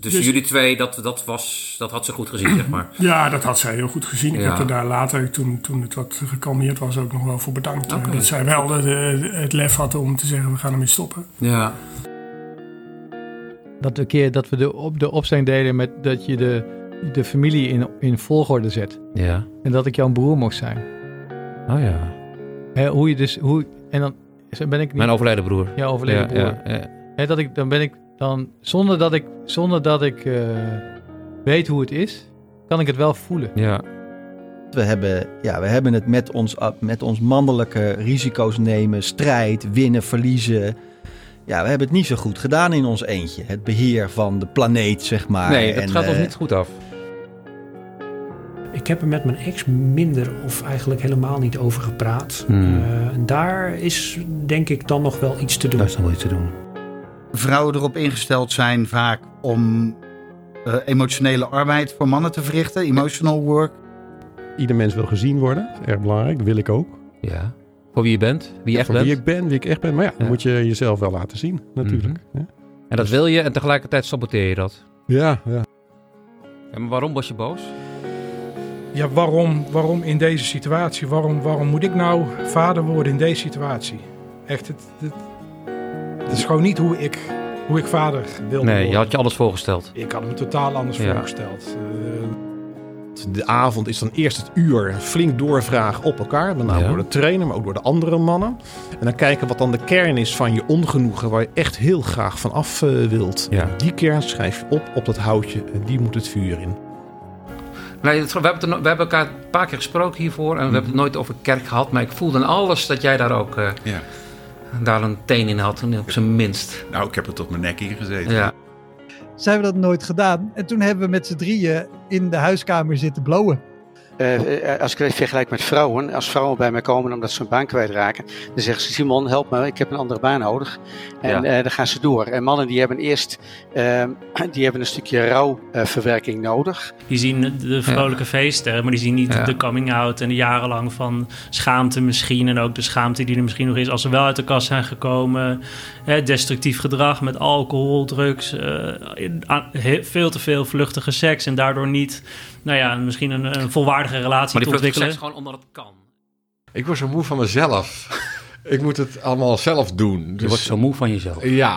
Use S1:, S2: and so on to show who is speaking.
S1: Dus,
S2: Dus-
S1: jullie twee, dat, dat, was, dat had ze goed gezien, zeg maar.
S2: Ja, dat had zij heel goed gezien. Ik
S1: Ja.
S2: heb er daar later, toen, toen het wat gekalmeerd was, ook nog wel voor bedankt. eh,
S1: Oké.
S2: Dat zij wel de- de- het lef had om te zeggen, we gaan ermee stoppen.
S1: Ja.
S3: Dat de keer dat we de, op, de opstelling deden met dat je de, de familie in, in volgorde zet.
S4: Ja.
S3: En dat ik jouw broer mocht zijn.
S4: Oh ja.
S3: Hè, hoe je dus, hoe, en dan ben ik niet
S4: Mijn overleden broer.
S3: jouw overleden broer.
S4: Ja, ja, ja.
S3: Hè, dat ik, dan ben ik dan, zonder dat ik, zonder dat ik eh, weet hoe het is, kan ik het wel voelen.
S4: ja.
S5: We hebben, ja, we hebben het met ons, ab- met ons mannelijke risico's nemen, strijd, winnen, verliezen. Ja, we hebben het niet zo goed gedaan in ons eentje. Het beheer van de planeet, zeg
S6: Ah,
S5: maar.
S4: nee, dat
S5: En,
S4: gaat ons
S5: eh,
S4: niet goed af.
S7: Ik heb er met mijn ex minder of eigenlijk helemaal niet over gepraat.
S4: Hmm.
S7: Eh, en daar is denk ik dan nog wel iets te doen.
S4: Daar is nog wel iets te doen.
S8: Vrouwen erop ingesteld zijn vaak om eh, emotionele arbeid voor mannen te verrichten, emotional work.
S6: Ieder mens wil gezien worden. Dat is erg belangrijk. Wil ik ook.
S4: Ja. Voor wie je bent, wie je echt
S6: Voor
S4: bent.
S6: Wie ik ben, wie ik echt ben. Maar ja, dan
S4: Ja.
S6: moet je jezelf wel laten zien, natuurlijk.
S4: Mhm.
S6: Dus-
S4: En dat wil je en tegelijkertijd saboteer je dat.
S6: Ja, ja.
S4: En maar waarom was je boos?
S9: Ja, waarom, waarom in deze situatie? Waarom, waarom moet ik nou vader worden in deze situatie? Echt, het, het, het is gewoon niet hoe ik, hoe ik vader wilde
S4: Nee, je
S9: worden.
S4: had je alles voorgesteld.
S9: Ik had me totaal anders
S4: Ja.
S9: voorgesteld. Eh,
S6: De avond is dan eerst het uur flink doorvragen op elkaar. Met name
S4: Ja.
S6: door de trainer, maar ook door de andere mannen. En dan kijken wat dan de kern is van je ongenoegen. Waar je echt heel graag van af eh, wilt.
S4: Ja.
S6: En Die kern schrijf je op op dat houtje. En die moet het vuur in.
S4: Nee, het- we, hebben het er no- we hebben elkaar een paar keer gesproken hiervoor. En we hebben het nooit over kerk gehad. Maar ik voelde aan alles dat jij daar ook eh,
S10: Ja.
S4: daar een teen in had. Op zijn minst.
S10: Nou, ik heb er tot mijn nek in gezeten.
S4: Ja.
S11: Zij hebben dat nooit gedaan. En toen hebben we met z'n drieën in de huiskamer zitten blowen.
S12: als ik het vergelijk met vrouwen, als vrouwen bij mij komen omdat ze hun baan kwijtraken, dan zeggen ze: Simon, help me, ik heb een andere baan nodig. En
S4: Ja.
S12: eh, dan gaan ze door. En mannen die hebben eerst ehm, die hebben een stukje rouwverwerking nodig.
S13: Die zien de vrolijke feesten, maar die zien niet
S4: Ja.
S13: de coming out en de jarenlang van schaamte misschien. En ook de schaamte die er misschien nog is als ze wel uit de kast zijn gekomen. Hè, destructief gedrag met alcohol, drugs, eh, in- aan- he- veel te veel vluchtige seks. En daardoor niet, nou ja, misschien een, een volwaardige relatie
S4: Maar
S13: te
S4: die vlucht
S13: ontwikkelen.
S4: is gewoon omdat het kan.
S14: Ik word zo moe van mezelf. ik moet het allemaal zelf doen. Dus
S4: Dus- Je wordt zo moe van jezelf.
S14: Ja,